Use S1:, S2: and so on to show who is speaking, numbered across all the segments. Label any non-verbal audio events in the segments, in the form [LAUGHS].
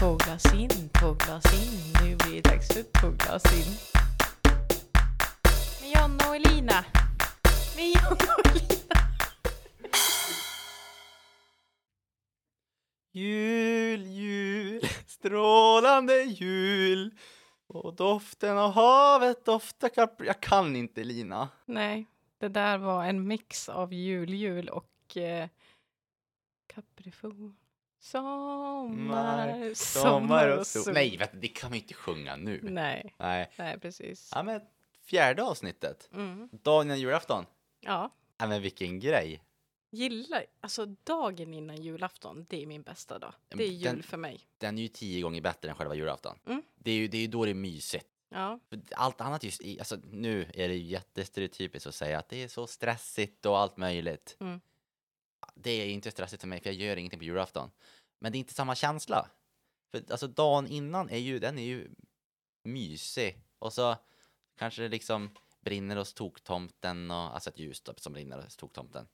S1: Två glas in, två glas in. Nu blir det dags för två glas in. Med Jonna och Elina. Med Jonna och Elina.
S2: Jul, jul, strålande jul och doften av havet doftar kap... Jag kan inte Lina.
S1: Nej, det där var en mix av juljul och eh, kaprifol. Sommar,
S2: Nej, vet, du, det kan vi inte sjunga nu. Nej.
S1: Nej, nej precis.
S2: Ja, men fjärde avsnittet.
S1: Mm.
S2: Dagen innan julafton.
S1: Ja,
S2: Ja, men vilken grej.
S1: gillar, alltså dagen innan julafton, det är min bästa dag.
S2: Ja,
S1: Det är
S2: men
S1: jul
S2: den-
S1: för mig.
S2: Den är ju tio gånger bättre än själva julafton.
S1: Mm.
S2: Det, är ju, det är ju då det är mysigt.
S1: Ja,
S2: För Allt annat just i, alltså nu är det ju jättestereotypiskt att säga att det är så stressigt och allt möjligt.
S1: Mm.
S2: Det är ju inte stressigt för mig för jag gör ingenting på julafton. Men det är inte samma känsla. För alltså dagen innan är ju, den är ju mysig. Och så kanske det liksom brinner hos toktomten och, alltså ett ljus då, som brinner hos toktomten.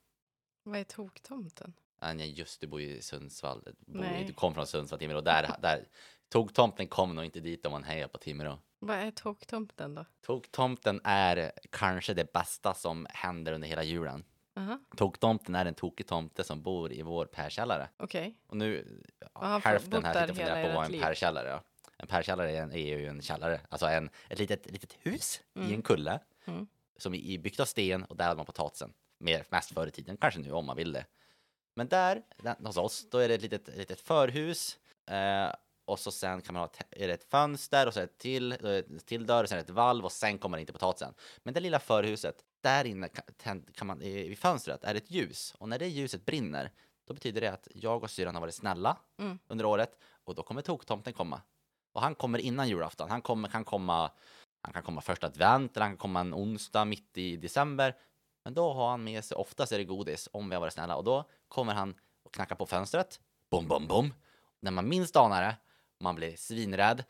S1: vad är toktomten?
S2: Anja, just du bor ju i Sundsvall. Du, bor,
S1: Nej.
S2: ju- du kom från Sundsvall, Timrå. Där, där, toktomten kom nog inte dit om man hejar på Timrå.
S1: Vad är toktomten då?
S2: Toktomten är kanske det bästa som händer under hela julen.
S1: Aha,
S2: Toktomten är en tokig tomte som bor i vår pärkällare.
S1: okej.
S2: Och nu, ja,
S1: Och han får- bott
S2: hälften här
S1: där
S2: sitter och funderar
S1: hela
S2: på vad
S1: ert
S2: en
S1: liv.
S2: pärkällare är. En pärkällare är, en, är ju en källare, alltså en, ett litet, litet hus
S1: Mm.
S2: i en kulle
S1: Mm.
S2: som är i- byggt av sten och där hade man potatisen. Mer, mest förr i tiden, kanske nu om man vill det. Men där, där hos oss, då är det ett litet, ett litet förhus eh, och så sen kan man ha ett, är det ett fönster och så är det ett till, då är det ett till dörr och sen är det ett valv och sen kommer inte potatisen. Men det lilla förhuset, där inne kan, tänd- kan man, eh, vid fönstret är det ett ljus och när det ljuset brinner då betyder det att jag och syrran har varit snälla
S1: Mm.
S2: under året och då kommer toktomten komma. Och han kommer innan julafton. Han kommer, kan komma han kan komma första advent eller han kan komma en onsdag mitt i december. Men då har han med sig, oftast är det godis om vi har varit snälla. Och då kommer han och knackar på fönstret. Bom, bom, bom. När man minst anar det, man blir svinrädd.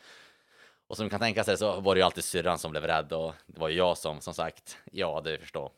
S2: Och som ni kan tänka sig så var det ju alltid syrran som blev rädd och det var ju jag som, som sagt, ja du förstår.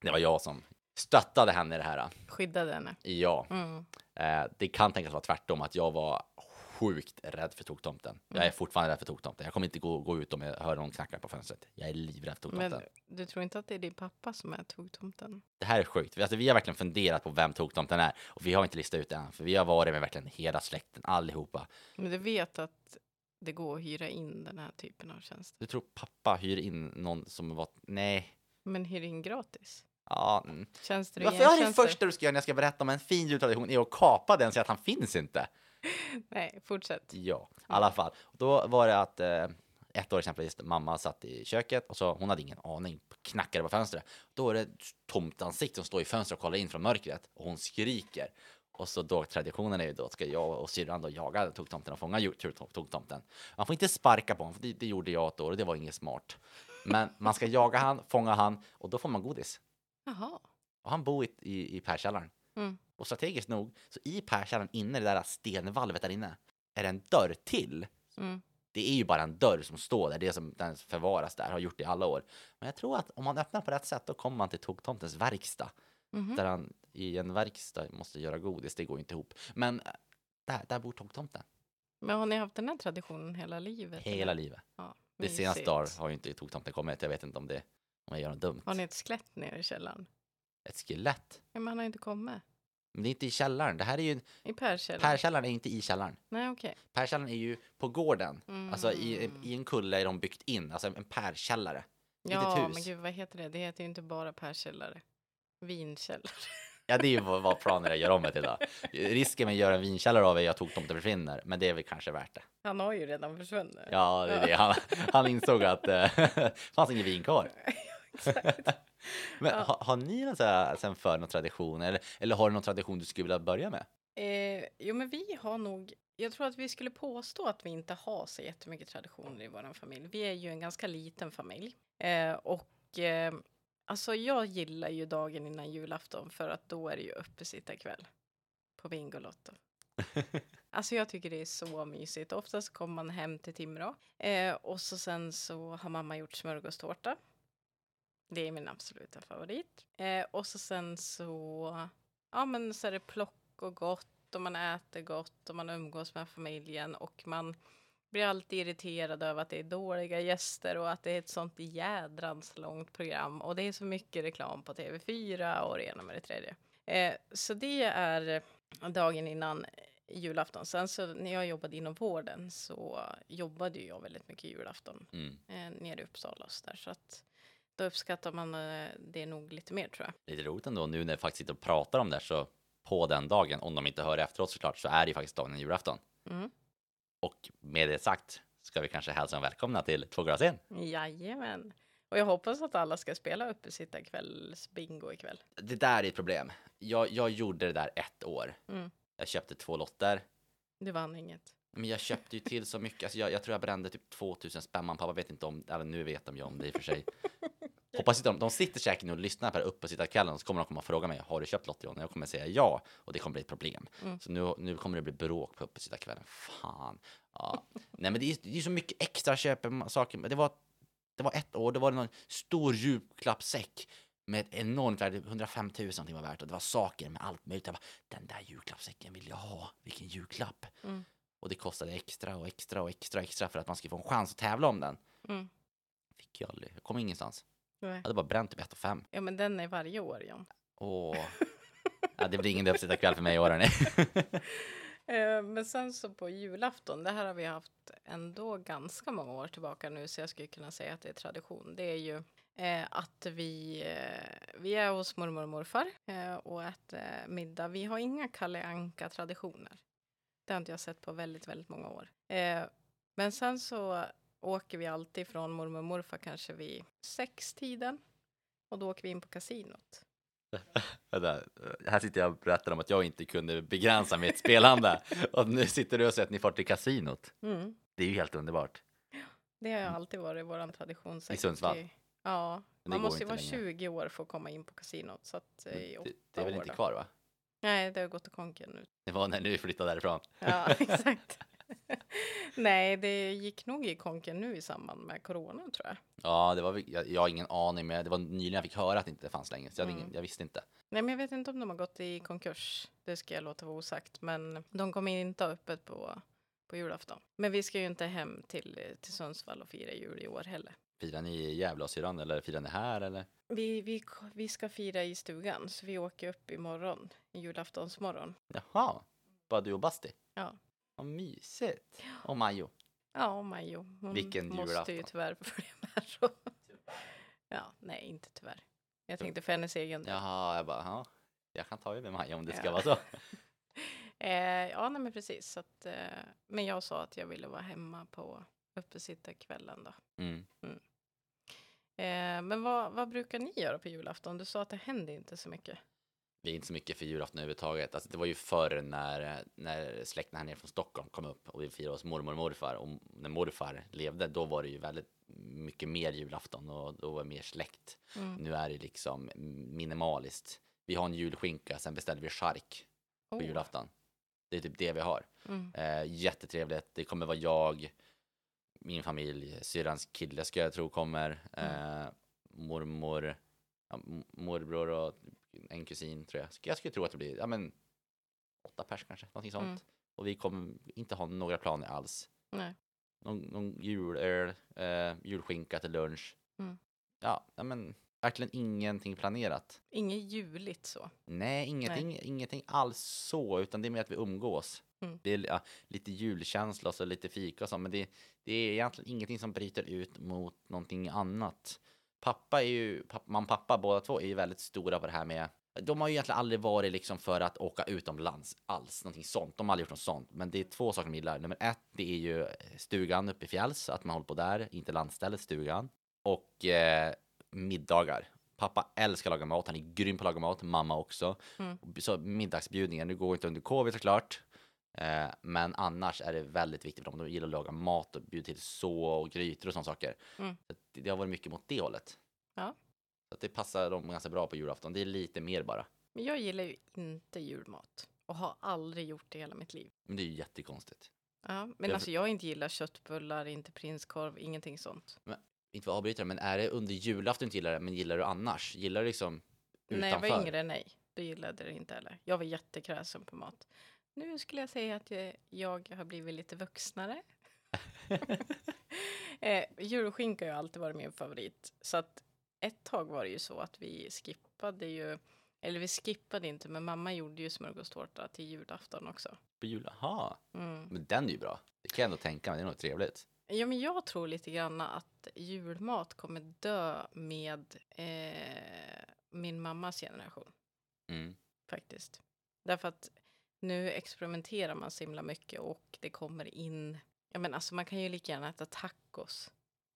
S2: Det var jag som stöttade henne i det här.
S1: Skyddade henne.
S2: Ja.
S1: Mm.
S2: Eh, det kan tänkas vara tvärtom, att jag var sjukt rädd för toktomten. Jag är fortfarande rädd för toktomten. Jag kommer inte gå, gå ut om jag hör någon knacka på fönstret. Jag är livrädd för toktomten.
S1: Men du tror inte att det är din pappa som är toktomten?
S2: Det här är sjukt. Alltså, vi har verkligen funderat på vem toktomten är och vi har inte listat ut det än, för vi har varit med verkligen hela släkten allihopa.
S1: Men du vet att det går att hyra in den här typen av tjänst.
S2: Du tror pappa hyr in någon som var... Nej.
S1: Men hyr in gratis.
S2: Ja. mm.
S1: Tjänster och
S2: Varför är det
S1: gentjänster.
S2: första du ska göra när jag ska berätta om en fin jultradition är att kapa den så att han finns inte?
S1: Nej, fortsätt.
S2: Ja, i alla fall. Då var det att eh, ett år exempelvis, mamma satt i köket och så hon hade ingen aning, knackade på fönstret. Då är det ett tomt ansikte som står i fönstret och kollar in från mörkret och hon skriker. Och så då traditionen är ju då att ska jag och syrran då jaga toktomten och fånga ju- tok- toktomten. Man får inte sparka på honom, för det, det gjorde jag ett år och det var inget smart. Men man ska jaga han, fånga han och då får man godis.
S1: Jaha.
S2: Och han bor i, i, i pärkällaren.
S1: Mm.
S2: Och strategiskt nog, så i pärkällaren inne i det där stenvalvet där inne, är det en dörr till.
S1: Mm.
S2: Det är ju bara en dörr som står där, det är som den förvaras där, har gjort det i alla år. Men jag tror att om man öppnar på rätt sätt, då kommer man till toktomtens verkstad.
S1: Mhm.
S2: Där han i en verkstad måste göra godis, det går ju inte ihop. Men eh, där, där bor toktomten
S1: Men har ni haft den här traditionen hela livet?
S2: hela
S1: eller?
S2: livet.
S1: Ja,
S2: Det senaste
S1: mysigt.
S2: dagar har ju inte toktomten kommit, jag vet inte om det om jag gör något dumt.
S1: Har ni ett skelett nere i källaren?
S2: Ett skelett.
S1: Ja, men han har inte kommit.
S2: Men det är inte i källaren, det här är ju...
S1: I Perkällaren?
S2: Pärkällaren är ju inte i källaren.
S1: Nej, okej.
S2: Pärkällan är ju på gården. Alltså i,
S1: Mm.
S2: i en kulle är de byggt in, alltså en- en pärkällare. litet
S1: Ja,
S2: hus.
S1: men gud, vad heter det? Det heter ju inte bara Perkällare. Vinkällare. [LAUGHS]
S2: Ja, det är ju vad, vad planen är att göra om det till då. Risken med att göra en vinkällare av är att toktomten försvinner, men det är väl kanske värt det.
S1: Han har ju redan försvunnit.
S2: Ja, det är det. Han, han insåg att eh, det fanns ingen vin kvar. Men
S1: Ja.
S2: har, har ni någon så här, sen för någon tradition eller, eller har du någon tradition du skulle vilja börja med?
S1: Eh, jo, men vi har nog... Jag tror att vi skulle påstå att vi inte har så jättemycket traditioner i vår familj. Vi är ju en ganska liten familj. Eh, och eh, alltså jag gillar ju dagen innan julafton för att då är det ju uppesittarkväll på Bingolotto. Alltså jag tycker det är så mysigt. Oftast kommer man hem till Timrå eh, och så sen så har mamma gjort smörgåstårta. Det är min absoluta favorit. Eh, och så sen så, ja men så är det plock och gott gott och man äter gott och man umgås med familjen och man blir alltid irriterad över att det är dåliga gäster och att det är ett sånt jädrans långt program och det är så mycket reklam på TV4 och det ena med det tredje. Eh, så det är dagen innan julafton. Sen så när jag jobbade inom vården så jobbade ju jag väldigt mycket julafton
S2: Mm.
S1: eh, nere i Uppsala och så där. Så att då uppskattar man eh, det nog lite mer tror jag.
S2: Lite roligt ändå nu när vi faktiskt sitter och pratar om det här, så på den dagen, om de inte hör efteråt såklart, så är det ju faktiskt dagen innan julafton.
S1: Mm.
S2: Och med det sagt ska vi kanske hälsa dem välkomna till Två glas in.
S1: Jajamän. Och jag hoppas att alla ska spela uppesittarkvällsbingo ikväll.
S2: Det där är ett problem. Jag, jag gjorde det där ett år.
S1: Mm.
S2: Jag köpte två lotter.
S1: Du vann inget.
S2: Men jag köpte ju till så mycket. Alltså jag, jag tror jag brände typ 2000 spänn. Mamma och pappa vet inte om eller nu vet de ju om det i och för sig. Hoppas inte de, de sitter säkert nu och lyssnar på det här uppe och sitter kvällen och så kommer de komma och fråga mig. Har du köpt lotter John? Och Jag kommer säga ja och det kommer bli ett problem.
S1: Mm.
S2: Så nu, nu kommer det bli bråk på uppe kvällen. Fan. Ja. Nej men det är, det är så mycket extra köp och saker. Men Det var, det var ett år, då var det någon stor julklappssäck med ett enormt värde, 105 000 någonting var värt och det var saker med allt möjligt. Jag bara, den där julklappssäcken vill jag ha, vilken julklapp.
S1: Mm.
S2: Och det kostade extra och extra och extra och extra för att man skulle få en chans att tävla om den.
S1: Mm.
S2: Fick jag aldrig, jag kom ingenstans.
S1: Nej.
S2: Jag hade bara bränt typ 1 5.
S1: Ja men den är varje år John.
S2: Åh. [LAUGHS] Ja, det blir ingen uppsittarkväll för mig i år hörni.
S1: [LAUGHS] Eh, Men sen så på julafton, det här har vi haft ändå ganska många år tillbaka nu så jag skulle kunna säga att det är tradition. Det är ju eh, att vi, eh, vi är hos mormor och morfar eh, och äter middag. Vi har inga Kalle Anka-traditioner. Det har inte jag sett på väldigt, väldigt många år. Eh, men sen så åker vi alltid från mormor och morfar kanske vid sextiden och då åker vi in på kasinot.
S2: [LAUGHS] Vänta, här sitter jag och berättar om att jag inte kunde begränsa
S1: [LAUGHS]
S2: mitt spelande. Och nu sitter du och säger att ni far till kasinot.
S1: Mm.
S2: Det är ju helt underbart.
S1: Det har alltid varit vår tradition.
S2: I Sundsvall?
S1: 60. Ja,
S2: Men det
S1: man
S2: går
S1: måste ju
S2: inte
S1: vara
S2: längre.
S1: 20 år för att komma in på kasinot. Så att, eh, i
S2: Det,
S1: åtta
S2: det är väl
S1: år
S2: inte
S1: då.
S2: kvar va?
S1: Nej, det har gått i konken
S2: [LAUGHS]
S1: nu.
S2: Det var när du flyttade därifrån.
S1: Ja, [LAUGHS] exakt. Nej, det gick nog i konken nu i samband med corona tror jag.
S2: Ja, det var, väl- jag, jag har ingen aning, men det var nyligen jag fick höra att det inte fanns längre. Så jag, hade
S1: Mm.
S2: ingen, jag visste inte.
S1: Nej, men jag vet inte om de har gått i konkurs. Det ska jag låta vara osagt. Men de kommer inte ha öppet på, på julafton. Men vi ska ju inte hem till, till Sundsvall och fira jul i år heller.
S2: Firar ni i Gävle och syrran eller firar ni här eller?
S1: Vi, vi, vi ska fira i stugan, så vi åker upp imorgon, i julaftonsmorgon.
S2: Jaha, bara du och Basti?
S1: Ja.
S2: Vad mysigt. Och Majo.
S1: Ja, Majo. Hon
S2: Vilken
S1: måste ju
S2: julafton.
S1: tyvärr [LAUGHS] följa med. Så. Ja, nej, inte tyvärr. Jag tänkte för hennes egen del.
S2: Jaha, jag bara, ja. Jag kan ta över Majo om det ska
S1: Ja. [LAUGHS]
S2: vara så.
S1: Eh, ja, nej, men precis. Så att, eh, men jag sa att jag ville vara hemma på uppesittarkvällen då.
S2: Mm.
S1: Eh, men vad, vad brukar ni göra på julafton? Du sa att det händer inte så mycket.
S2: Det är inte så mycket för julafton överhuvudtaget. Alltså, det var ju förr när, när släkten här nere från Stockholm kom upp och vi firade hos mormor och morfar. Och när morfar levde, då var det ju väldigt mycket mer julafton och då var det mer släkt.
S1: Mm.
S2: Nu är det liksom minimaliskt. Vi har en julskinka, sen beställer vi chark på
S1: Oh,
S2: julafton. Det är typ det vi har.
S1: Mm.
S2: Eh, jättetrevligt. Det kommer vara jag, min familj, syrrans kille ska jag tro kommer,
S1: Mm.
S2: eh, mormor, ja, m- morbror och en kusin tror jag. Så Jag skulle tro att det blir ja, men, åtta pers kanske, någonting sånt.
S1: Mm.
S2: Och vi kommer inte ha några planer alls.
S1: Nej.
S2: Någon, någon julöl, eh, julskinka till lunch.
S1: Mm.
S2: Ja, ja, men verkligen ingenting planerat.
S1: Inget juligt så.
S2: Nej, ingenting, ingenting alls så, utan det är mer att vi umgås.
S1: Mm.
S2: Det är ja, lite julkänsla och så lite fika och så, men det, det är egentligen ingenting som bryter ut mot någonting annat. Pappa är ju, papp, man och pappa båda två är ju väldigt stora på det här med de har ju egentligen aldrig varit liksom för att åka utomlands alls, någonting sånt. De har aldrig gjort något sånt. Men det är två saker de gillar. Nummer ett, det är ju stugan uppe i fjälls, att man håller på där, inte landstället, stugan. Och eh, middagar. Pappa älskar att laga mat, han är grym på att laga mat, mamma också.
S1: Mm.
S2: Så middagsbjudningar, nu går inte under covid såklart. Eh, men annars är det väldigt viktigt för dem. De gillar att laga mat och bjuda till så och grytor och sådana saker.
S1: Mm.
S2: Så att det- det har varit mycket mot det hållet.
S1: Ja.
S2: Så att det passar dem ganska bra på julafton. Det är lite mer bara.
S1: Men jag gillar ju inte julmat och har aldrig gjort det i hela mitt liv.
S2: Men det är ju jättekonstigt.
S1: Ja, men
S2: Jag-
S1: alltså jag inte gillar köttbullar, inte prinskorv, ingenting sånt.
S2: Inte för att avbryta, men är det under julafton du inte gillar det, men gillar du annars? Gillar du liksom
S1: När jag
S2: utanför?
S1: var yngre, nej, då gillade jag det inte heller. Jag var jättekräsen på mat. Nu skulle jag säga att jag, jag har blivit lite vuxnare. eh, julskinka har ju alltid varit min favorit. Så att ett tag var det ju så att vi skippade ju, eller vi skippade inte, men mamma gjorde ju smörgåstårta till julafton också.
S2: På jul? Aha.
S1: Mm.
S2: Men den är ju bra. Det kan jag ändå tänka mig. Det är nog trevligt.
S1: Ja, men jag tror lite grann att julmat kommer dö med eh, min mammas generation
S2: Mm.
S1: faktiskt. Därför att nu experimenterar man så himla mycket och det kommer in... Ja, men alltså man kan ju lika gärna äta tacos.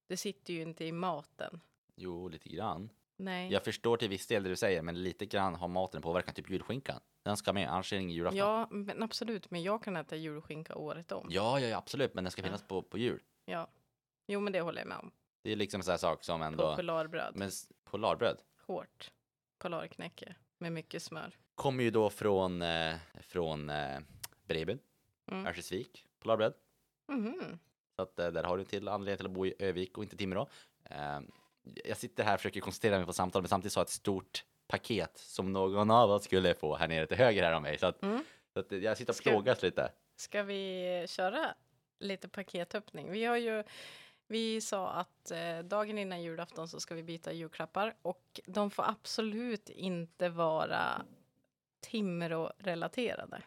S1: Det sitter ju inte i maten.
S2: Jo, lite grann.
S1: Nej.
S2: Jag förstår till viss del det du säger, men lite grann har maten påverkan. Typ julskinkan. Den ska med, annars är det ingen julafton.
S1: Ja, men absolut. Men jag kan äta julskinka året om.
S2: ja, ja, ja, absolut. Men den ska finnas på, på jul.
S1: Ja. Jo, men det håller jag med om.
S2: Det är liksom en sån här sak som ändå...
S1: Polarbröd.
S2: Men s- polarbröd
S1: Hårt. Polarknäcke. Med mycket smör.
S2: kommer ju då från, eh, från eh, Breben,
S1: Mm.
S2: Örnsköldsvik, polarbröd.
S1: Mhm.
S2: Så att eh, där har du en till anledning till att bo i Övik och inte Timrå. Eh, jag sitter här och försöker koncentrera mig på samtalet, men samtidigt så har jag ett stort paket som någon av oss skulle få här nere till höger här om mig. Så att,
S1: Mm.
S2: så att jag sitter och
S1: Ska-
S2: plågas lite.
S1: Ska vi köra lite paketöppning? Vi har ju vi sa att eh, dagen innan julafton så ska vi byta julklappar och de får absolut inte vara Timrå-relaterade.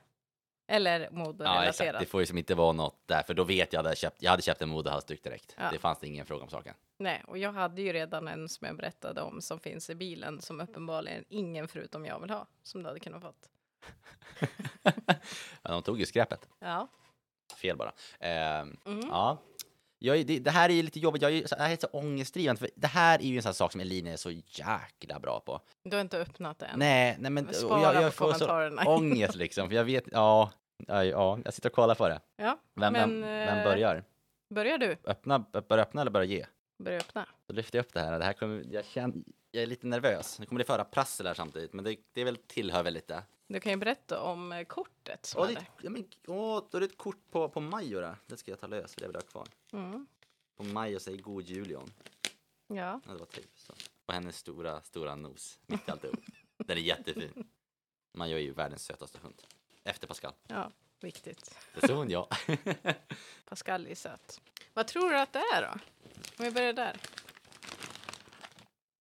S1: Eller
S2: Ja, exakt.
S1: moderrelaterade.
S2: Det får ju som inte vara något där, för då vet jag att jag hade köpt, jag hade köpt en modehalsduk direkt.
S1: Ja.
S2: Det fanns ingen fråga om saken.
S1: Nej, och jag hade ju redan en som jag berättade om som finns i bilen som uppenbarligen ingen förutom jag vill ha som du hade kunnat fått.
S2: Men de tog ju skräpet.
S1: Ja,
S2: Fel bara. Eh,
S1: Mm.
S2: Ja. Jag, är- det, det här är ju lite jobbigt, jag är, ju- det här är så ångestdrivande, för det här är ju en sån här sak som Elina är så jäkla bra på.
S1: du har inte öppnat det än.
S2: Nej, nej men och
S1: Spara
S2: jag, jag
S1: på
S2: får så
S1: kommentarerna. [LAUGHS]
S2: ångest liksom, för jag vet, ja, ja, ja jag sitter och kollar på det.
S1: ja,
S2: Vem,
S1: men,
S2: vem, vem
S1: eh,
S2: börjar?
S1: Börjar du?
S2: Öppna, börja öppna eller börja ge?
S1: Börja öppna.
S2: Då lyfter jag upp det här, det här kommer, jag, känner, jag är lite nervös. Nu kommer det föra prassel här samtidigt, men det, det är väl tillhör väl lite.
S1: Du kan ju berätta om eh, kortet som
S2: Åh,
S1: är
S2: det, är ett- ja, men, åh, då är det ett kort på, på Majo där. Det ska jag ta lös, för det vill jag ha kvar.
S1: där. Mm.
S2: På Majo säger god jul John.
S1: Ja.
S2: Ja, det var typ så. Och hennes stora, stora nos, mitt i alltihop. Den är jättefin. Majo är ju världens sötaste hund. Efter Pascal.
S1: ja, viktigt.
S2: Det tror hon ja.
S1: Pascal är söt. Vad tror du att det är då? Om vi börjar där.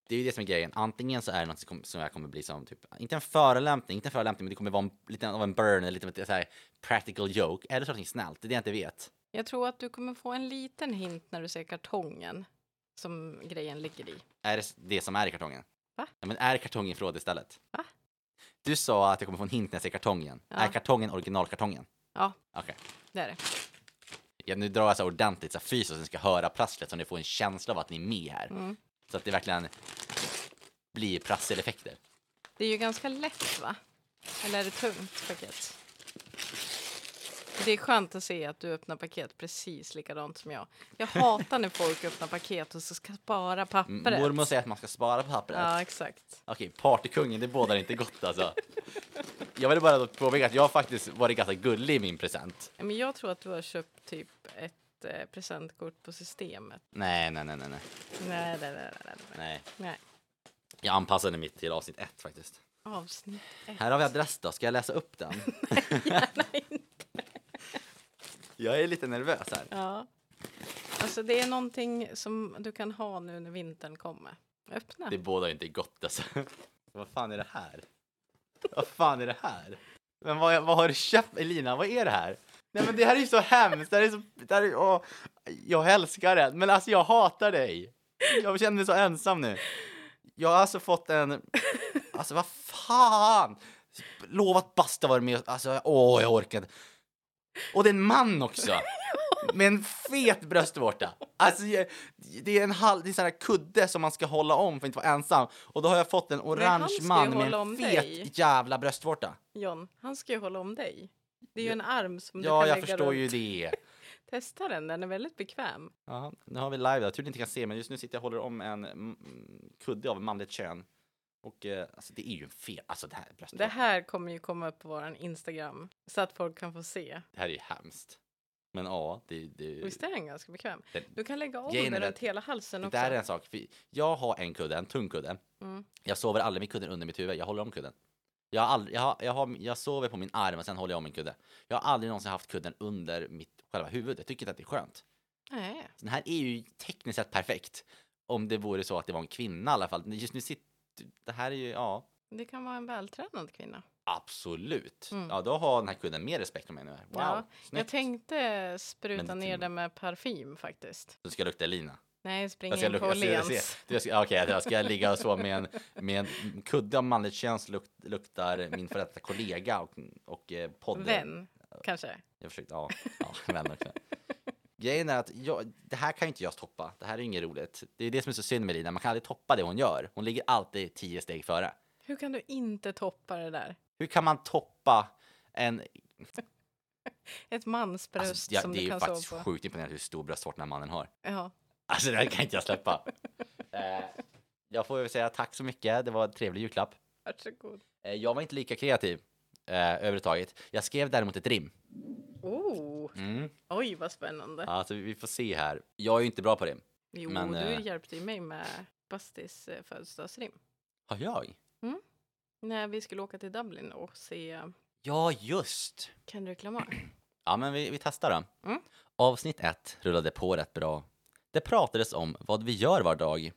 S2: Det är ju det som är grejen. Antingen så är det något som, som jag kommer bli som, typ, inte en förolämpning, inte en förolämpning, men det kommer vara en, lite av en burn, eller lite av ett så här practical joke. Eller så är det något snällt, det är det jag inte vet.
S1: Jag tror att du kommer få en liten hint när du ser kartongen som grejen ligger i.
S2: Är det det som är i kartongen?
S1: Va?
S2: Ja, men är kartongen från istället?
S1: Va?
S2: Du sa att jag kommer få en hint när jag ser kartongen.
S1: Ja.
S2: Är kartongen originalkartongen?
S1: Ja,
S2: Okej.
S1: det är det.
S2: Ja, nu drar jag så här ordentligt så här fysiskt så ni ska höra prasslet så ni får en känsla av att ni är med här.
S1: Mm.
S2: Så att det verkligen blir prasseleffekter.
S1: Det är ju ganska lätt va? Eller är det tungt paket? Det är skönt att se att du öppnar paket precis likadant som jag. Jag hatar när folk öppnar paket och så ska spara
S2: M-
S1: pappret.
S2: Mm, Mormor säger att man ska spara på pappret.
S1: Ja, exakt.
S2: Okej, partykungen, det bådar inte
S1: [LAUGHS]
S2: gott alltså. Jag vill bara påpeka att jag faktiskt varit ganska gullig i min present.
S1: Ja, Men jag tror att du har köpt typ ett eh, presentkort på systemet.
S2: Nej, nej, nej, nej, nej,
S1: Nej, nej, nej, nej, nej.
S2: nej.
S1: nej.
S2: Jag anpassade mitt till avsnitt ett faktiskt.
S1: Avsnitt
S2: [LAUGHS]
S1: ett.
S2: Här har vi adress då, ska jag läsa upp den?
S1: Nej.
S2: [LAUGHS] Jag är lite nervös här.
S1: Ja. Alltså det är någonting som du kan ha nu när vintern kommer. Öppna.
S2: Det bådar ju inte gott alltså. Vad fan är det här? Vad fan är det här? Men vad, vad har du köpt Elina? Vad är det här? Nej men det här är ju så hemskt. Det här är så, det här är, åh, jag älskar det. Men alltså jag hatar dig. Jag känner mig så ensam nu. Jag har alltså fått en... Alltså vad fan! Lovat basta var med Alltså åh jag orkar inte. Och det är en man också! Med en fet bröstvårta. Alltså, jag- det är en halv, det är en sån här kudde som man ska hålla om för att inte vara ensam. Och då har jag fått en
S1: han
S2: orange
S1: ska ju
S2: man med
S1: hålla
S2: en
S1: om
S2: fet
S1: dig.
S2: jävla bröstvårta.
S1: John, han ska ju hålla om dig. Det är ju en arm som du
S2: Ja,
S1: kan
S2: jag
S1: lägga
S2: förstår
S1: runt.
S2: ju det.
S1: Testa den, den är väldigt bekväm.
S2: Ja, nu har vi live då. Tur ni inte kan se, men just nu sitter jag och håller om en mm, kudde av manligt kön. Och eh, alltså, det är ju en fel, alltså det här bröstvårtan.
S1: Det här kommer ju komma upp på våran Instagram så att folk kan få se.
S2: Det här är ju hemskt. Men ja, det, det,
S1: Visst är den ganska bekväm?
S2: Den-
S1: Du kan lägga om
S2: Grejen är
S1: den
S2: att
S1: runt hela halsen
S2: det
S1: också.
S2: där är en sak. För jag har en kudde, en tung kudde.
S1: Mm.
S2: Jag sover aldrig med kudden under mitt huvud, jag håller om kudden. Jag, har aldrig, jag, har, jag, har, jag sover på min arm och sen håller jag om min kudde. Jag har aldrig någonsin haft kudden under mitt själva huvud. Jag tycker inte att det är skönt.
S1: Nej.
S2: Så Den här är ju tekniskt sett perfekt. Om det vore så att det var en kvinna i alla fall. Just nu sitter... Det här är ju, ja,
S1: Det kan vara en vältränad kvinna.
S2: absolut.
S1: Mm.
S2: Ja, då har den här kudden mer respekt för mig nu. Wow,
S1: Ja, Jag
S2: snyggt.
S1: tänkte spruta
S2: Men det-
S1: ner det med parfym faktiskt.
S2: Du ska lukta lina.
S1: Nej, spring
S2: Jag ska
S1: in
S2: lukta,
S1: på
S2: jag ska, jag
S1: Åhléns.
S2: ska, jag ska, okej, jag ska ligga och så med en, med en kudde av manligt köns luk, luktar min före detta kollega och, och eh, podden.
S1: Vän, kanske.
S2: Jag försökte, ja, ja vän också. Grejen är att jag, det här kan ju inte jag toppa. Det här är ju inget roligt. Det är det som är så synd med Lina. Man kan aldrig toppa det hon gör. Hon ligger alltid tio steg före.
S1: Hur kan du inte toppa det där?
S2: Hur kan man toppa en...
S1: Ett mansbröst
S2: Alltså, ja,
S1: som
S2: det är
S1: du
S2: ju
S1: kan
S2: faktiskt
S1: sova på.
S2: sjukt imponerande hur stor bröstvårta den här mannen har.
S1: Ja.
S2: Alltså det här kan inte jag släppa.
S1: [LAUGHS]
S2: eh, jag får väl säga tack så mycket. Det var en trevlig julklapp.
S1: Varsågod.
S2: Eh, jag var inte lika kreativ eh, överhuvudtaget. Jag skrev däremot ett rim.
S1: Oh,
S2: Mm.
S1: oj, vad spännande.
S2: Alltså vi får se här. Jag är ju inte bra på rim.
S1: Jo,
S2: men,
S1: du
S2: eh,
S1: hjälpte ju mig med Bastis eh, födelsedagsrim.
S2: Har jag?
S1: När vi skulle åka till Dublin och se
S2: Ja, just.
S1: Kendrick Lamar.
S2: Ja, men vi, vi testar då.
S1: Mm.
S2: Avsnitt ett rullade på rätt bra. Det pratades om vad vi gör var dag.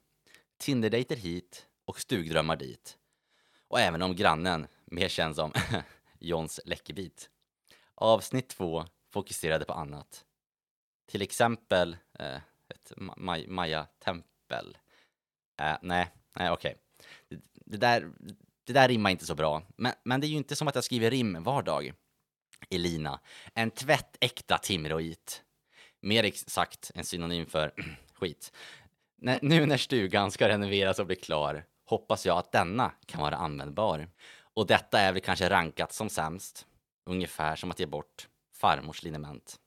S2: Tinderdejter hit och stugdrömmar dit. Och även om grannen, mer känd som [LAUGHS] Johns läckerbit. Avsnitt två fokuserade på annat. Till exempel eh, ett ma- maj- Maya-tempel. Eh, nej, nej okej. Det, det, där, det där rimmar inte så bra. Men, men det är ju inte som att jag skriver rim var dag. Elina, en tvättäkta timråit. Mer exakt en synonym för [CLEARS THROAT] skit. Nä- nu när stugan ska renoveras och bli klar hoppas jag att denna kan vara användbar. Och detta är väl kanske rankat som sämst. Ungefär som att ge bort farmors liniment.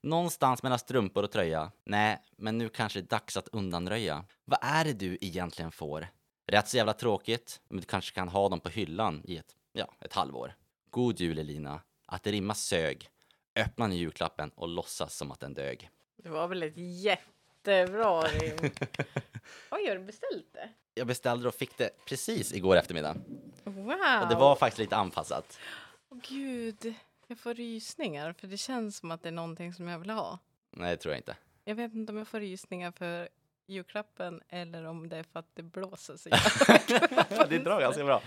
S2: Någonstans mellan strumpor och tröja. Nej, men nu kanske det är dags att undanröja. Vad är det du egentligen får? Rätt så jävla tråkigt, men du kanske kan ha dem på hyllan i ett, ja, ett halvår. God jul Elina. Att det rimmar sög. Öppna nu julklappen och låtsas som att den dög.
S1: Det var väl ett jättebra
S2: [LAUGHS]
S1: rim. Oj, har du beställt det?
S2: Jag beställde och fick det precis igår eftermiddag.
S1: Wow!
S2: Och det var faktiskt lite anpassat.
S1: Åh, Gud, jag får rysningar för det känns som att det är någonting som jag vill ha.
S2: Nej, det tror jag inte. [LAUGHS]
S1: Jag vet inte om jag får rysningar för julklappen eller om det är för att det blåser så jävla
S2: det drar ganska bra.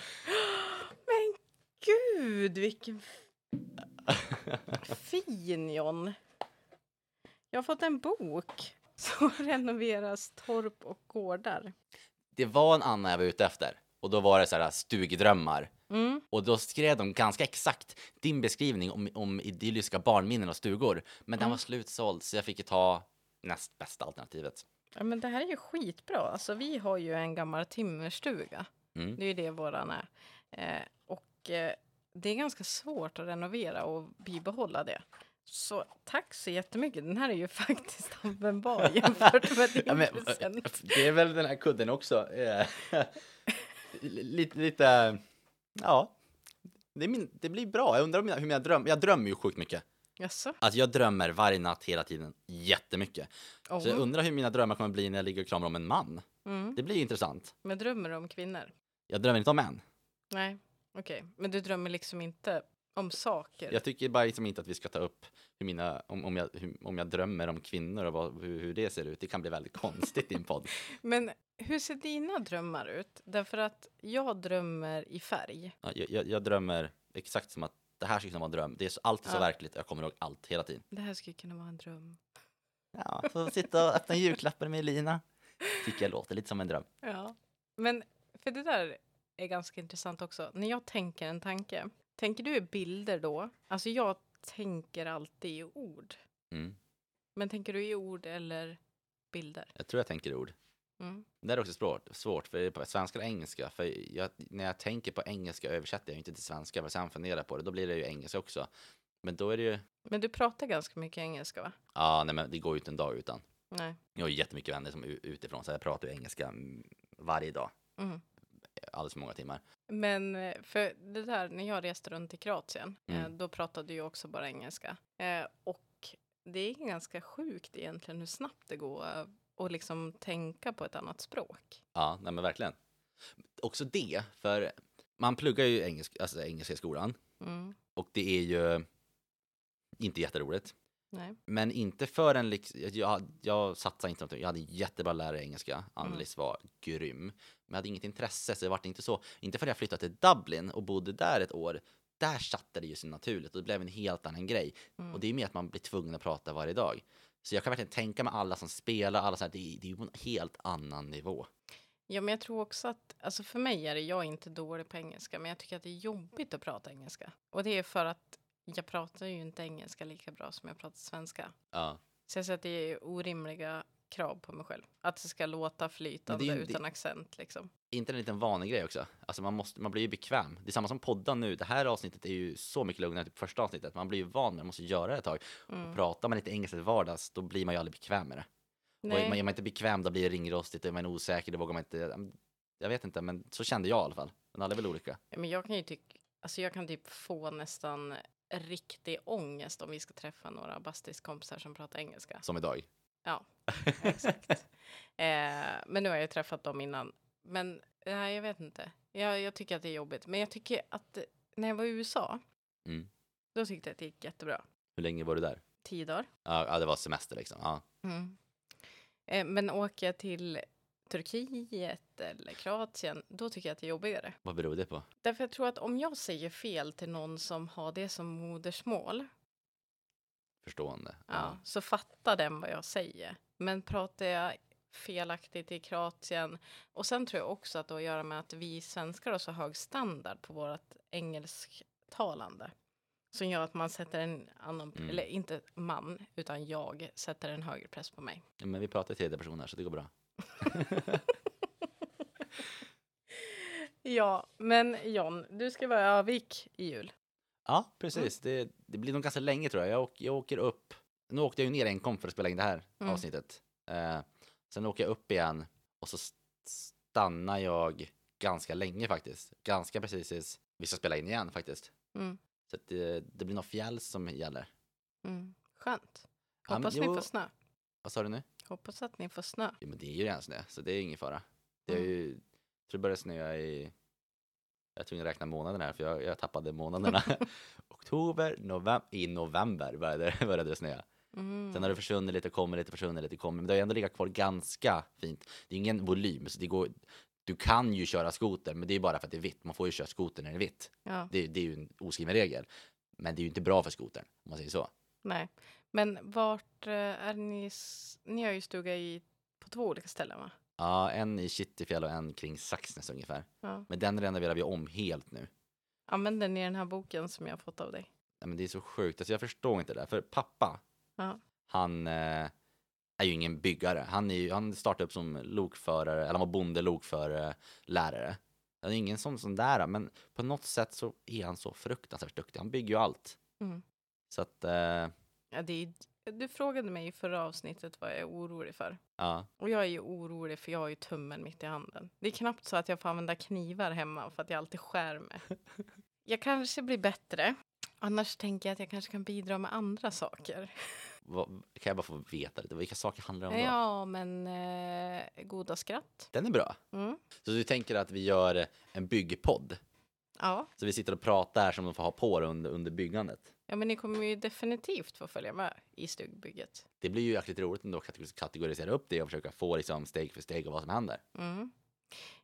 S1: [LAUGHS] Men gud, vilken f- [LAUGHS] fin John. Jag har fått en bok som [LAUGHS] renoveras torp och gårdar.
S2: Det var en annan jag var ute efter. Och då var det så här stugdrömmar.
S1: Mm.
S2: Och då skrev de ganska exakt din beskrivning om, om idylliska barnminnen och stugor. Men den var slutsåld så jag fick ju ta näst bästa alternativet.
S1: Ja, men det här är ju skitbra. Alltså, vi har ju en gammal timmerstuga.
S2: Mm.
S1: Det är ju det våran är. Eh, och eh, det är ganska svårt att renovera och bibehålla det. Så tack så jättemycket. Den här är ju [LAUGHS] faktiskt
S2: [LAUGHS]
S1: användbar jämfört med din
S2: Ja, men, eh,
S1: present.
S2: det är väl den här kudden också. eh, [LAUGHS] lite, lite, ja. Det, är min, det blir bra. Jag undrar om mina, hur mina drömmar, jag drömmer ju sjukt mycket.
S1: Jaså?
S2: Alltså jag drömmer varje natt hela tiden jättemycket.
S1: Oh.
S2: Så jag undrar hur mina drömmar kommer bli när jag ligger och kramar om en man.
S1: Mm.
S2: Det blir ju intressant.
S1: Men drömmer du om kvinnor?
S2: Jag drömmer inte om män.
S1: Nej, okej. Men du drömmer liksom inte om saker?
S2: Jag tycker bara liksom inte att vi ska ta upp hur mina, om, om, jag, hur, om jag drömmer om kvinnor och vad, hur, hur det ser ut. Det kan bli väldigt [LAUGHS] konstigt i en podd.
S1: Men hur ser dina drömmar ut? Därför att jag drömmer i färg.
S2: Ja, Jag, jag, jag drömmer exakt som att det här skulle kunna vara en dröm. Det är så, alltid så
S1: Ja.
S2: verkligt. Jag kommer ihåg allt hela tiden.
S1: Det här skulle kunna vara en dröm.
S2: Ja, så sitta och öppna julklappar med Elina. Tycker jag låter lite som en dröm.
S1: Ja. Men för det där är ganska intressant också. När jag tänker en tanke, tänker du i bilder då? Alltså jag tänker alltid i ord.
S2: Mm.
S1: Men tänker du i ord eller bilder?
S2: Jag tror jag tänker ord.
S1: Mm.
S2: Det där är också svårt, svårt för det är på svenska och engelska. För jag, när jag tänker på engelska översätter jag inte till svenska, men sen funderar jag på det. Då blir det ju engelska också. Men då är det ju...
S1: Men du pratar ganska mycket engelska va?
S2: Ja, nej men det går ju inte en dag utan.
S1: Nej.
S2: Jag har ju jättemycket vänner som är u- utifrån, så jag pratar ju engelska mm, varje dag.
S1: Mm.
S2: Alldeles för många timmar.
S1: Men eh, för det där, när jag reste runt i Kroatien, eh,
S2: Mm.
S1: då pratade jag också bara engelska. Eh, och det är ganska sjukt egentligen hur snabbt det går eh, att liksom tänka på ett annat språk.
S2: Ja, nej men verkligen. Också det, för man pluggar ju engelsk, alltså engelska i skolan
S1: Mm.
S2: och det är ju inte jätteroligt.
S1: Nej.
S2: Men inte förrän liksom, jag, jag satsade inte någonting. Jag hade en jättebra lärare i engelska. Annelies var grym. Men jag hade inget intresse så det vart inte så. Inte förrän jag flyttade till Dublin och bodde där ett år. Där satte det ju sig naturligt och det blev en helt annan grej.
S1: Mm.
S2: Och det är mer att man blir tvungen att prata varje dag. Så jag kan verkligen tänka mig alla som spelar, alla så här, det, är- det är ju på en helt annan nivå.
S1: Ja, men jag tror också att, alltså för mig är det, jag är inte dålig på engelska, men jag tycker att det är jobbigt att prata engelska. Och det är för att jag pratar ju inte engelska lika bra som jag pratar svenska.
S2: Ja.
S1: Så jag säger att det är orimliga krav på mig själv. Att det ska låta flytande
S2: ju- det-
S1: utan accent liksom.
S2: inte en liten vanlig grej också? Alltså man, måste, man blir ju bekväm. Det är samma som podda nu. Det här avsnittet är ju så mycket lugnare än typ första avsnittet. Man blir ju van med det, man måste göra det ett tag. Och pratar man inte engelska till vardags, då blir man ju aldrig bekväm med det. Och är man, är man inte bekväm, då blir det ringrostigt. Är man osäker, då vågar man inte. Jag vet inte, men så kände jag i alla fall. Men alla är väl olika.
S1: Ja, Men jag kan ju tycka, alltså jag kan typ få nästan riktig ångest om vi ska träffa några bastiskompisar som pratar engelska.
S2: Som idag.
S1: Ja, exakt. eh, men nu har jag ju träffat dem innan. Men nej, jag vet inte. Jag, jag tycker att det är jobbigt. Men jag tycker att eh, när jag var i USA,
S2: Mm.
S1: då tyckte jag att det gick jättebra.
S2: Hur länge var du där?
S1: Tio dagar. Mm.
S2: Ja, ja, det var semester liksom. Ja.
S1: Eh, men åker jag till Turkiet eller Kroatien, då tycker jag att det är jobbigare.
S2: Vad beror det på?
S1: Därför jag tror att om jag säger fel till någon som har det som modersmål,
S2: Förstående.
S1: ja. så fattar den vad jag säger. Men pratar jag felaktigt i Kroatien och sen tror jag också att det har att göra med att vi svenskar har så hög standard på vårt engelsktalande som gör att man sätter en annan,
S2: Mm.
S1: eller inte man, utan jag sätter en högre press på mig.
S2: Ja. Men vi pratar i tredje person här, så det går bra.
S1: Ja, men John, du ska vara i Övik i jul.
S2: Ja, precis. Det, det blir nog ganska länge tror jag. Jag, åk, jag åker upp. Nu åkte jag ju ner enkom för att spela in det här
S1: Mm.
S2: avsnittet. Eh, sen åker jag upp igen och så st- stannar jag ganska länge faktiskt. Ganska precis tills vi ska spela in igen faktiskt.
S1: Mm.
S2: Så att det, det blir nog fjälls som gäller.
S1: Mm. Skönt.
S2: Ja, men
S1: Hoppas ni
S2: jo,
S1: får snö.
S2: Vad sa du nu?
S1: Hoppas att ni får snö.
S2: Jo, men det är ju redan snö, så det är ingen fara. Det är ju, jag tror det började snöa i... Jag tror jag räkna månaderna här, för jag, jag tappade månaderna. Oktober, november, i november började, [LAUGHS] började det snöa.
S1: Mm.
S2: Sen har det försvunnit lite, kommer lite, försvunnit lite, kommer. Men det har ju ändå legat kvar ganska fint. Det är ingen volym, så det går... Du kan ju köra skoter, men det är bara för att det är vitt. Man får ju köra skoter när det är vitt.
S1: Ja.
S2: Det, det är ju en oskriven regel. Men det är ju inte bra för skotern, om man säger så.
S1: Nej, men vart eh, är ni? s- Ni har ju stuga i, på två olika ställen va?
S2: Ja, en i Kittifjäll och en kring Saxnäs ungefär.
S1: Ja.
S2: Men den renoverar vi om helt nu.
S1: Använder ni den här boken som jag har fått av dig?
S2: Ja, men det är så sjukt, alltså jag förstår inte det där. För pappa,
S1: Ja.
S2: han eh, är ju ingen byggare. Han, är ju, han startade upp som lokförare, eller han var bonde, lokförare, lärare. Han är ingen sån, sån där, men på något sätt så är han så fruktansvärt duktig. Han bygger ju allt.
S1: Mm.
S2: Så att, eh,
S1: Ja, det är, du frågade mig i förra avsnittet vad jag är orolig för.
S2: ja.
S1: Och jag är ju orolig för jag har ju tummen mitt i handen. Det är knappt så att jag får använda knivar hemma för att jag alltid skär mig. Jag kanske blir bättre. Annars tänker jag att jag kanske kan bidra med andra saker.
S2: Vad, kan jag bara få veta lite, vilka saker handlar det om då?
S1: Ja, men eh, goda skratt.
S2: Den är bra.
S1: Mm.
S2: Så du tänker att vi gör en byggpodd?
S1: Ja.
S2: Så vi sitter och pratar som de får ha på det under, under byggandet.
S1: Ja, men ni kommer ju definitivt få följa med i stugbygget.
S2: Det blir ju jäkligt roligt ändå att kategor- kategorisera upp det och försöka få liksom steg för steg och vad som händer.
S1: Mm.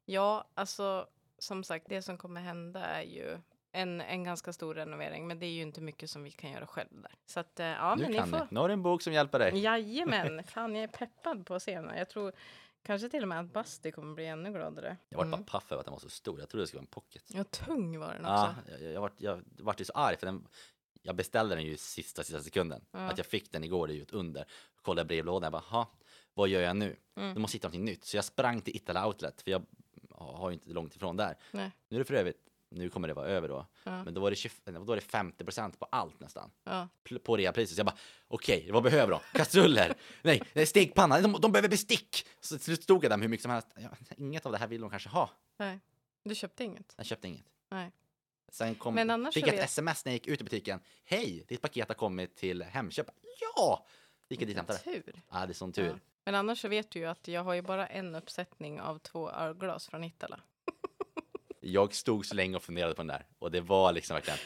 S1: Ja, alltså som sagt, det som kommer hända är ju en, en ganska stor renovering, men det är ju inte mycket som vi kan göra själv där. Så att, eh, ja, men
S2: nu
S1: ni
S2: kan du.
S1: får.
S2: Nu har du en bok som hjälper dig.
S1: Jajamän, fan jag är peppad på scenen. Jag tror kanske till och med att Basti kommer bli ännu gladare.
S2: Jag vart
S1: Mm.
S2: bara paff över att den var så stor. Jag trodde det skulle vara en pocket.
S1: Ja, tung var den
S2: Ja,
S1: också.
S2: jag, jag, vart, jag vart ju så arg för den. Jag beställde den ju i sista, sista sekunden.
S1: Ja.
S2: Att jag fick den igår är ju ett under. Kollade i brevlådan, jag bara, "Ha, vad gör jag nu?
S1: Mm.
S2: Du måste hitta någonting nytt. Så jag sprang till Itala Outlet, för jag har ju inte långt ifrån där.
S1: Nej.
S2: Nu är det för övrigt, nu kommer det vara över då.
S1: Ja.
S2: Men då var det, 20, då var det 50% på allt nästan.
S1: Ja.
S2: pl- på reapriset. Så jag bara, okej, vad behöver de? Kastruller? nej, nej, stekpanna? De, de behöver bestick! Så till slut stod jag där med hur mycket som helst. Ja, inget av det här vill de kanske ha.
S1: Nej, du köpte inget?
S2: Jag köpte inget.
S1: Nej.
S2: Sen kom,
S1: Men annars
S2: fick
S1: så
S2: jag ett
S1: vet-
S2: sms när jag gick ut i butiken. Hej, ditt paket har kommit till Hemköp. Ja! Gick jag dit och hämtade.
S1: Tur.
S2: Ja, det är sån tur.
S1: Ja. Men annars så vet du ju att jag har ju bara en uppsättning av två ölglas från Ittala.
S2: Jag stod så länge och funderade på den där och det var liksom verkligen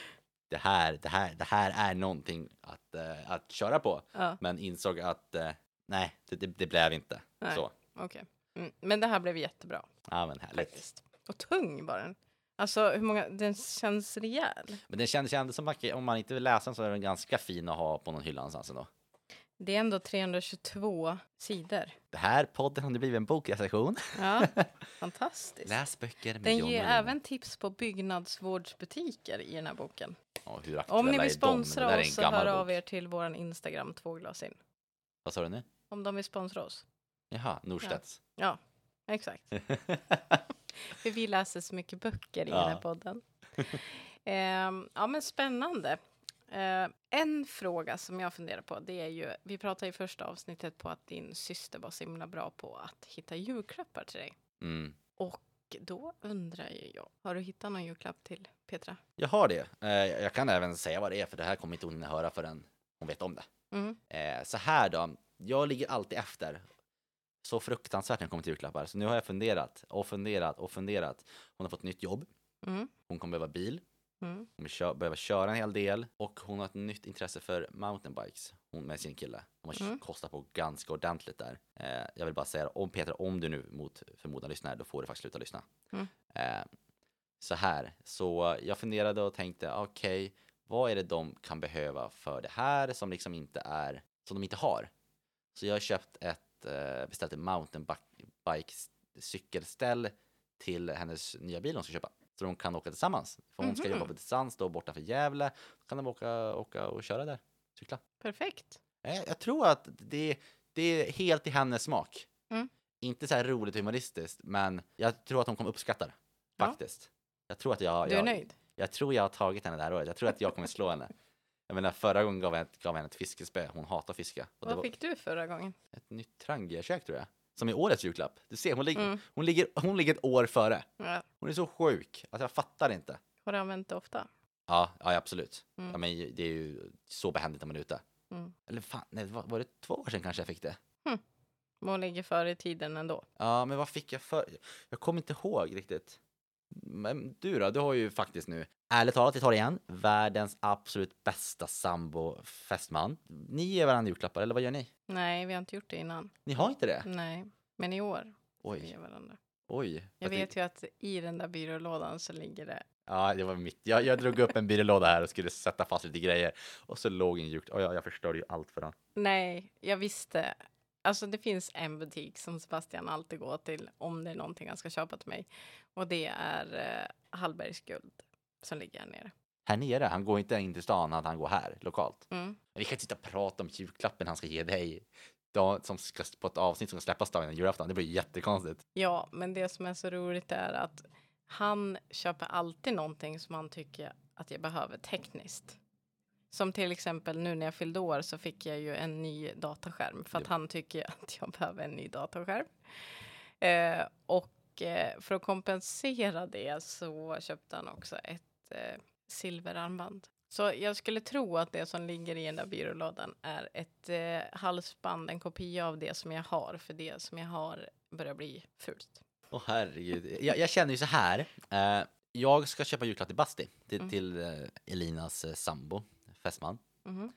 S2: det här, det här, det här är någonting att, eh, att köra på.
S1: Ja,
S2: Men insåg att eh, nej, det, det, det blev inte
S1: Nej.
S2: så.
S1: okej. Mm. Men det här blev jättebra
S2: Ja, men härligt.
S1: faktiskt. Och tung var den. Alltså hur många, den känns rejäl.
S2: Men det kändes, kändes som att om man inte vill läsa den så är den ganska fin att ha på någon hylla någonstans ändå.
S1: Det är ändå 322 sidor.
S2: Det här podden har nu blivit en bokrecension.
S1: Ja,
S2: [LAUGHS]
S1: fantastiskt.
S2: Läs böcker med
S1: Den
S2: John
S1: ger
S2: och Lina.
S1: även tips på byggnadsvårdsbutiker i den här boken.
S2: Ja, hur aktuella
S1: Om ni
S2: är
S1: vill
S2: de? Det där
S1: sponsra
S2: är en
S1: oss så
S2: gammal
S1: hör av
S2: bok.
S1: er till vår Instagram tvåglasin.
S2: Vad sa du nu?
S1: Om de vill sponsra oss.
S2: Jaha, Norstedts.
S1: Ja, exakt. För vi läser så mycket böcker i
S2: Ja.
S1: den här
S2: [LAUGHS]
S1: podden. Ehm, ja, men spännande. Ehm, en fråga som jag funderar på, det är ju, vi pratade i första avsnittet på att din syster var så himla bra på att hitta julklappar till dig.
S2: [LAUGHS] mm.
S1: Och då undrar ju jag, har du hittat någon julklapp till Petra?
S2: Jag har det. Eh, Jag kan även säga vad det är, för det här kommer inte hon hinna höra förrän hon vet om det.
S1: Mm.
S2: Eh, Så här då, jag ligger alltid efter. Så fruktansvärt när det kommer till julklappar. Så nu har jag funderat och funderat och funderat. Hon har fått nytt jobb,
S1: Mm.
S2: hon kommer behöva bil,
S1: Mm.
S2: hon kommer kö- behöva köra en hel del och hon har ett nytt intresse för mountainbikes hon med sin kille. Hon har
S1: Mm.
S2: kostat på ganska ordentligt där. Eh, jag vill bara säga om Petra, om du nu mot förmodan lyssnar, då får du faktiskt sluta lyssna.
S1: Mm.
S2: Eh, så här, så jag funderade och tänkte okej, vad är det de kan behöva för det här som liksom inte är, som de inte har? Så jag har köpt ett, eh, beställt ett mountainbike cykelställ till hennes nya bil hon ska köpa. Så de kan åka tillsammans. För hon ska
S1: Mhm.
S2: jobba på distans då bortanför Gävle. Då kan de åka, åka och köra där, cykla.
S1: Perfekt.
S2: Nej, Jag tror att det, det är helt i hennes smak.
S1: Mm.
S2: Inte så här roligt och humoristiskt, men jag tror att hon kommer uppskatta det.
S1: Ja.
S2: Faktiskt. Jag tror att jag,
S1: du är
S2: jag,
S1: nöjd?
S2: jag tror jag har tagit henne det här året. Jag tror att jag kommer slå henne. Jag menar, förra gången gav jag, ett- gav jag henne ett fiskespö. Hon hatar fiska. Och det
S1: Vad
S2: var
S1: fick du förra gången?
S2: ett nytt trangiakök tror jag. Som är årets julklapp. Du ser, hon ligger,
S1: Mm.
S2: hon, ligger, hon ligger ett år före.
S1: Ja.
S2: Hon är så sjuk. Alltså jag fattar inte.
S1: Har du använt det ofta?
S2: Ja, ja absolut.
S1: Mm.
S2: Ja, men det är ju så behändigt när man är ute.
S1: Mm.
S2: Eller fan, nej, var, var det två år sedan kanske jag fick det?
S1: Men Hon ligger före i tiden ändå.
S2: Ja, men vad fick jag för... Jag kommer inte ihåg riktigt. Men du då? Du har ju faktiskt nu, ärligt talat, vi tar det igen, världens absolut bästa sambo fästman. Ni ger varandra julklappar, eller vad gör ni?
S1: Nej, vi har inte gjort det innan.
S2: Ni har inte det?
S1: Nej, men i år vi
S2: Oj,
S1: ger varandra.
S2: oj.
S1: Mm. Jag
S2: det-
S1: vet ju att i den där byrålådan så ligger det.
S2: Ja, det var mitt. Jag, jag drog upp en byrålåda här och skulle sätta fast lite grejer. Och så låg en julklapp. Oj, ja, jag förstörde ju allt för den.
S1: Nej, jag visste. Alltså det finns en butik som Sebastian alltid går till om det är någonting han ska köpa till mig. Och det är eh, Hallbergs guld som ligger här nere.
S2: Här nere, han går inte in till stan, han han går här lokalt.
S1: Mm.
S2: Men vi kan inte sitta och prata om julklappen han ska ge dig. Dag, som ska, på ett avsnitt som ska släppas dagen innan julafton. Det blir ju jättekonstigt.
S1: Ja, men det som är så roligt är att han köper alltid någonting som han tycker att jag behöver tekniskt. Som till exempel nu när jag fyllde år så fick jag ju en ny dataskärm för att
S2: Ja.
S1: han tycker att jag behöver en ny dataskärm. Eh, och eh, för att kompensera det så köpte han också ett eh, silverarmband. Så jag skulle tro att det som ligger i den där byrålådan är ett eh, halsband, en kopia av det som jag har, för det som jag har börjar bli fult.
S2: Åh herregud. Jag, jag känner ju så här. Eh, jag ska köpa julklapp till Basti, till,
S1: Mm.
S2: till eh, Elinas eh, sambo, fästman.
S1: Mhm.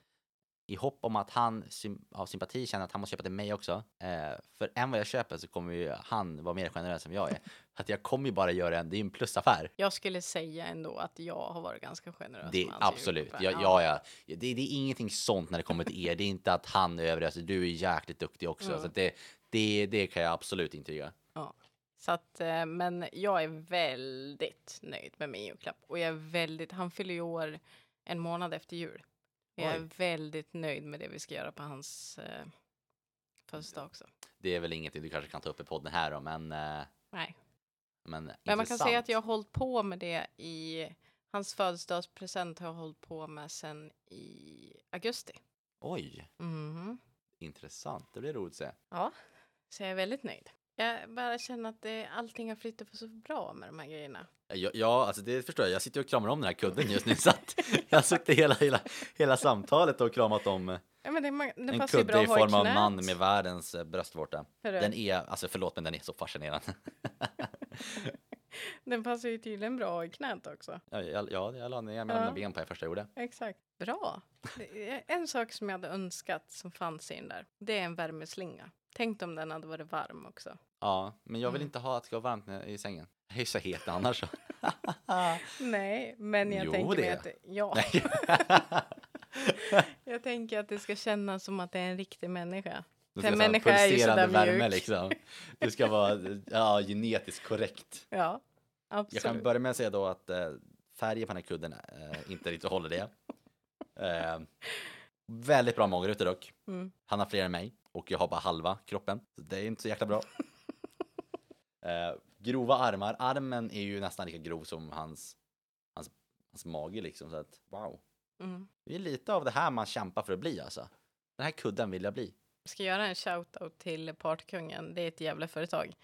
S2: I hopp om att han sym- av sympati känner att han måste köpa till mig också. Eh, för än vad jag köper så kommer ju han vara mer generös än jag är. att jag kommer ju bara göra en, det är ju en plusaffär.
S1: Jag skulle säga ändå att jag har varit ganska generös.
S2: Det,
S1: med hans
S2: absolut.
S1: julklappar.
S2: Ja, ja, ja. Det, det är ingenting sånt när det kommer till er. Det är inte att han är överöser. Du är jäkligt duktig också.
S1: Mm.
S2: Så att det, det, det kan jag absolut intyga.
S1: Så att, eh, men jag är väldigt nöjd med min julklapp. Och jag är väldigt, han fyller ju år en månad efter jul. Jag är
S2: Oj.
S1: väldigt nöjd med det vi ska göra på hans eh, födelsedag också.
S2: Det är väl ingenting du kanske kan ta upp i podden här då, men... eh,
S1: Nej.
S2: Men,
S1: Men man kan säga
S2: intressant.
S1: att jag har hållit på med det i... Hans födelsedagspresent har jag hållit på med sen i augusti.
S2: Oj, Mm-hmm.
S1: Mhm.
S2: intressant. Det blir roligt att se.
S1: Ja, så jag är väldigt nöjd. Jag bara känner att det, allting har flyttat på så bra med de här grejerna.
S2: Ja, ja, alltså det förstår jag. Jag sitter och kramar om den här kudden just nu. [LAUGHS] Så att jag har suttit hela, hela, hela samtalet och kramat om eh,
S1: Ja, men det, man, det
S2: en
S1: passar ju bra
S2: kudde i
S1: att ha i
S2: form av
S1: knät.
S2: man med världens eh, bröstvårta.
S1: Hörru,
S2: Den är, alltså förlåt men den är så fascinerande.
S1: Den passar ju tydligen bra i knät också.
S2: [LAUGHS] Ja, jag, ja, jag la ner mellan
S1: Ja.
S2: mina ben på det första jag gjorde.
S1: Exakt. Bra. Det är En sak som jag hade önskat som fanns i den där, det är en värmeslinga. Tänk om den hade varit varm också.
S2: Ja, men jag vill
S1: Mm.
S2: inte ha att det ska vara varmt när- i sängen. [LAUGHS] Jag är ju så het annars. så.
S1: Nej, men jag
S2: Jo,
S1: tänker mig
S2: det.
S1: att, ja,
S2: Nej.
S1: [LAUGHS] jag tänker att det ska kännas som att det är en riktig människa. För
S2: Det ska
S1: en
S2: vara
S1: människa är ju
S2: pulserande
S1: sådär
S2: värme
S1: mjuk.
S2: liksom. Det ska vara ja, genetiskt korrekt.
S1: Ja,
S2: Jag kan
S1: absolut.
S2: börja med att säga då att eh, färgen på den här kudden eh, inte riktigt
S1: [LAUGHS]
S2: håller det. Eh, väldigt bra magrutor dock.
S1: Mm.
S2: Han har fler än mig och jag har bara halva kroppen. Så det är inte så jäkla bra.
S1: [LAUGHS]
S2: eh, grova armar. Armen är ju nästan lika grov som hans, hans, hans mage liksom. Så att, wow.
S1: Mm.
S2: Det är lite av det här man kämpar för att bli alltså. Den här kudden vill jag bli.
S1: Ska göra en shoutout till Partykungen, det är ett jävla företag.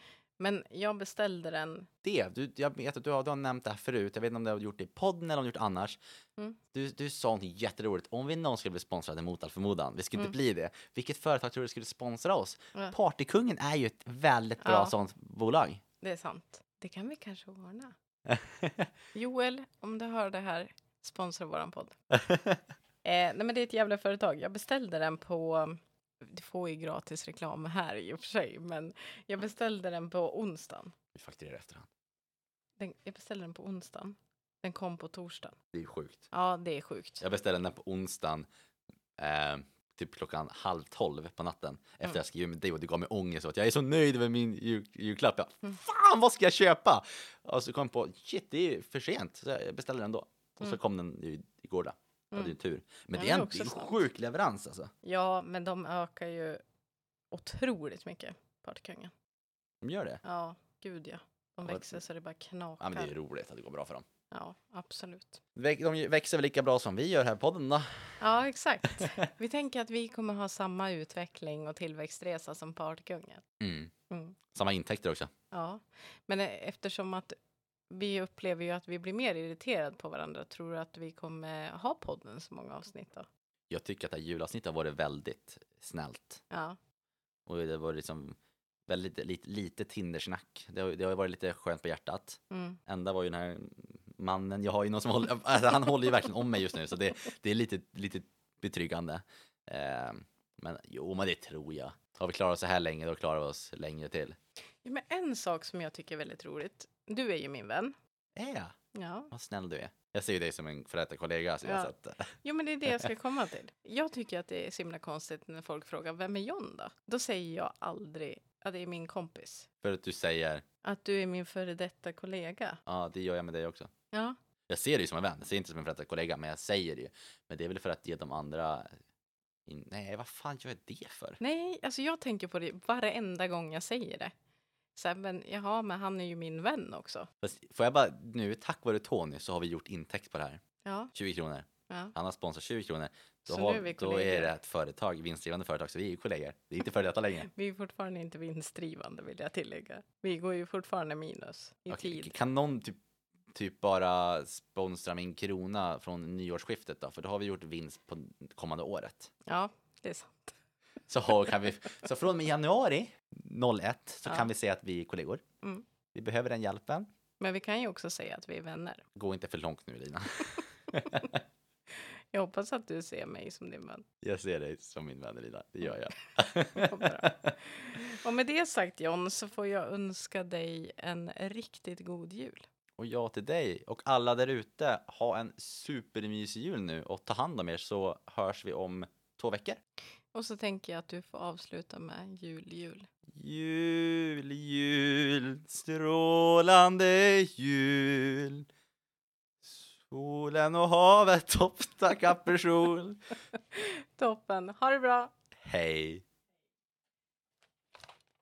S1: Men jag beställde den,
S2: Det, du, jag vet att du har, du har nämnt det här förut. Jag vet inte om du har gjort det i podden eller om du har gjort annars.
S1: Mm.
S2: Du, du sa något jätteroligt. Om vi någon skulle bli sponsrade mot all förmodan, vi skulle inte bli det. Vilket företag tror du skulle sponsra oss?
S1: Mm. Ja.
S2: Partykungen är ju ett väldigt bra
S1: Ja.
S2: sånt bolag.
S1: det är sant. Det kan vi kanske
S2: [LAUGHS]
S1: ordna. Joel, om du hör det här, sponsra våran
S2: [LAUGHS]
S1: podd. Eh, nej men det är ett jävla företag. Jag beställde den på, du får ju gratis reklam här i och för sig, men jag beställde den på onsdagen.
S2: vi fakturerar efterhand.
S1: Den, jag beställde den på onsdagen. Den kom på torsdagen.
S2: Det är ju sjukt.
S1: Ja, det är sjukt.
S2: Jag beställde den på onsdagen, eh, typ klockan halv tolv på natten. Efter
S1: Mm.
S2: jag skrev med dig och det gav mig ångest. Och att jag är så nöjd med min jul- julklapp. Jag, Fan, vad ska jag köpa? Och så kom jag på, shit, det är ju för sent. Så jag beställde den då. Och så
S1: Mm.
S2: kom den ju igår då. Jag hade ju tur. Mm.
S1: Ja,
S2: Men det är
S1: men
S2: en
S1: också
S2: det är en
S1: snabbt.
S2: sjuk leverans alltså.
S1: Ja, men de ökar ju otroligt mycket, Partykungen.
S2: De gör det.
S1: Ja, gud ja. De
S2: Ja,
S1: växer så det bara knakar.
S2: Ja, men det är ju roligt att det går bra för dem.
S1: ja absolut.
S2: Väx- De växer väl lika bra som vi gör här i podden då.
S1: Ja, exakt. Vi tänker att vi kommer ha samma utveckling och tillväxtresa som Partykungen.
S2: Mm.
S1: Mm.
S2: Samma intäkter också.
S1: Ja, men eh, eftersom att vi upplever ju att vi blir mer irriterade på varandra, tror du att vi kommer ha podden så många avsnitt då?
S2: Jag tycker att det här julavsnittet har varit väldigt snällt.
S1: Ja,
S2: Och det var liksom väldigt lite, lite Tindersnack. Det har, det har ju varit lite skönt på hjärtat.
S1: mm.
S2: Enda var ju den här mannen, jag har ju någon som håller, [LAUGHS] alltså han håller ju verkligen om mig just nu så det, det är lite, lite betryggande. Eh, men jo, men det tror jag. Har vi klarat oss så här länge, då klarar vi oss längre till.
S1: Ja, Men en sak som jag tycker är väldigt roligt, du är ju min vän.
S2: Är jag?
S1: Ja.
S2: Vad snäll du är. Jag ser ju dig som en före detta kollega. Så
S1: Ja.
S2: jag, så att,
S1: Jo, men det är det jag ska komma till. Jag tycker att det är så himla konstigt när folk frågar vem är John då? Då säger jag aldrig att det är min kompis.
S2: [LAUGHS] för att du säger, ja,
S1: Att du är min före detta kollega.
S2: det gör jag med dig också.
S1: Ja,
S2: Jag ser dig som en vän, jag ser inte som en före detta kollega, men jag säger det ju. Men det är väl för att ge de andra... In... Nej, vad fan gör jag det för?
S1: nej, alltså jag tänker på det varenda gång jag säger det. Så här, men jaha, men han är ju min vän också.
S2: Fast får jag bara nu, tack vare Tony så har vi gjort intäkt på det här.
S1: Ja,
S2: 20 kronor.
S1: ja.
S2: Han har sponsrat 20 kronor. Då,
S1: Så nu
S2: har,
S1: är vi
S2: då
S1: kollegor.
S2: är det ett företag, vinstdrivande företag, så vi är ju kollegor. Det är inte före detta längre.
S1: Vi är fortfarande inte vinstdrivande vill jag tillägga. Vi går ju fortfarande minus [LAUGHS] i
S2: Okej,
S1: tid.
S2: kan någon typ, typ bara sponsra min krona från nyårsskiftet då? För då har vi gjort vinst på kommande året.
S1: Ja, det är sant.
S2: Så, har, kan vi, så från och med januari 01 så
S1: Ja.
S2: kan vi säga att vi är kollegor.
S1: Mm.
S2: Vi behöver den hjälpen.
S1: Men vi kan ju också säga att vi är vänner.
S2: Gå inte för långt nu Lina. [LAUGHS]
S1: Jag hoppas att du ser mig som din [LAUGHS] vän.
S2: Jag ser dig som min vän Lina, det gör jag.
S1: Vad bra. Och med det sagt John så får jag önska dig en riktigt god jul.
S2: Och jag till dig och alla där ute. Ha en supermysig jul nu och ta hand om er så hörs vi om två veckor.
S1: Och så tänker jag att du får avsluta med jul, jul.
S2: Jul, jul, strålande jul. Solen och havet toppta kapersol.
S1: Toppen, ha det bra!
S2: Hej!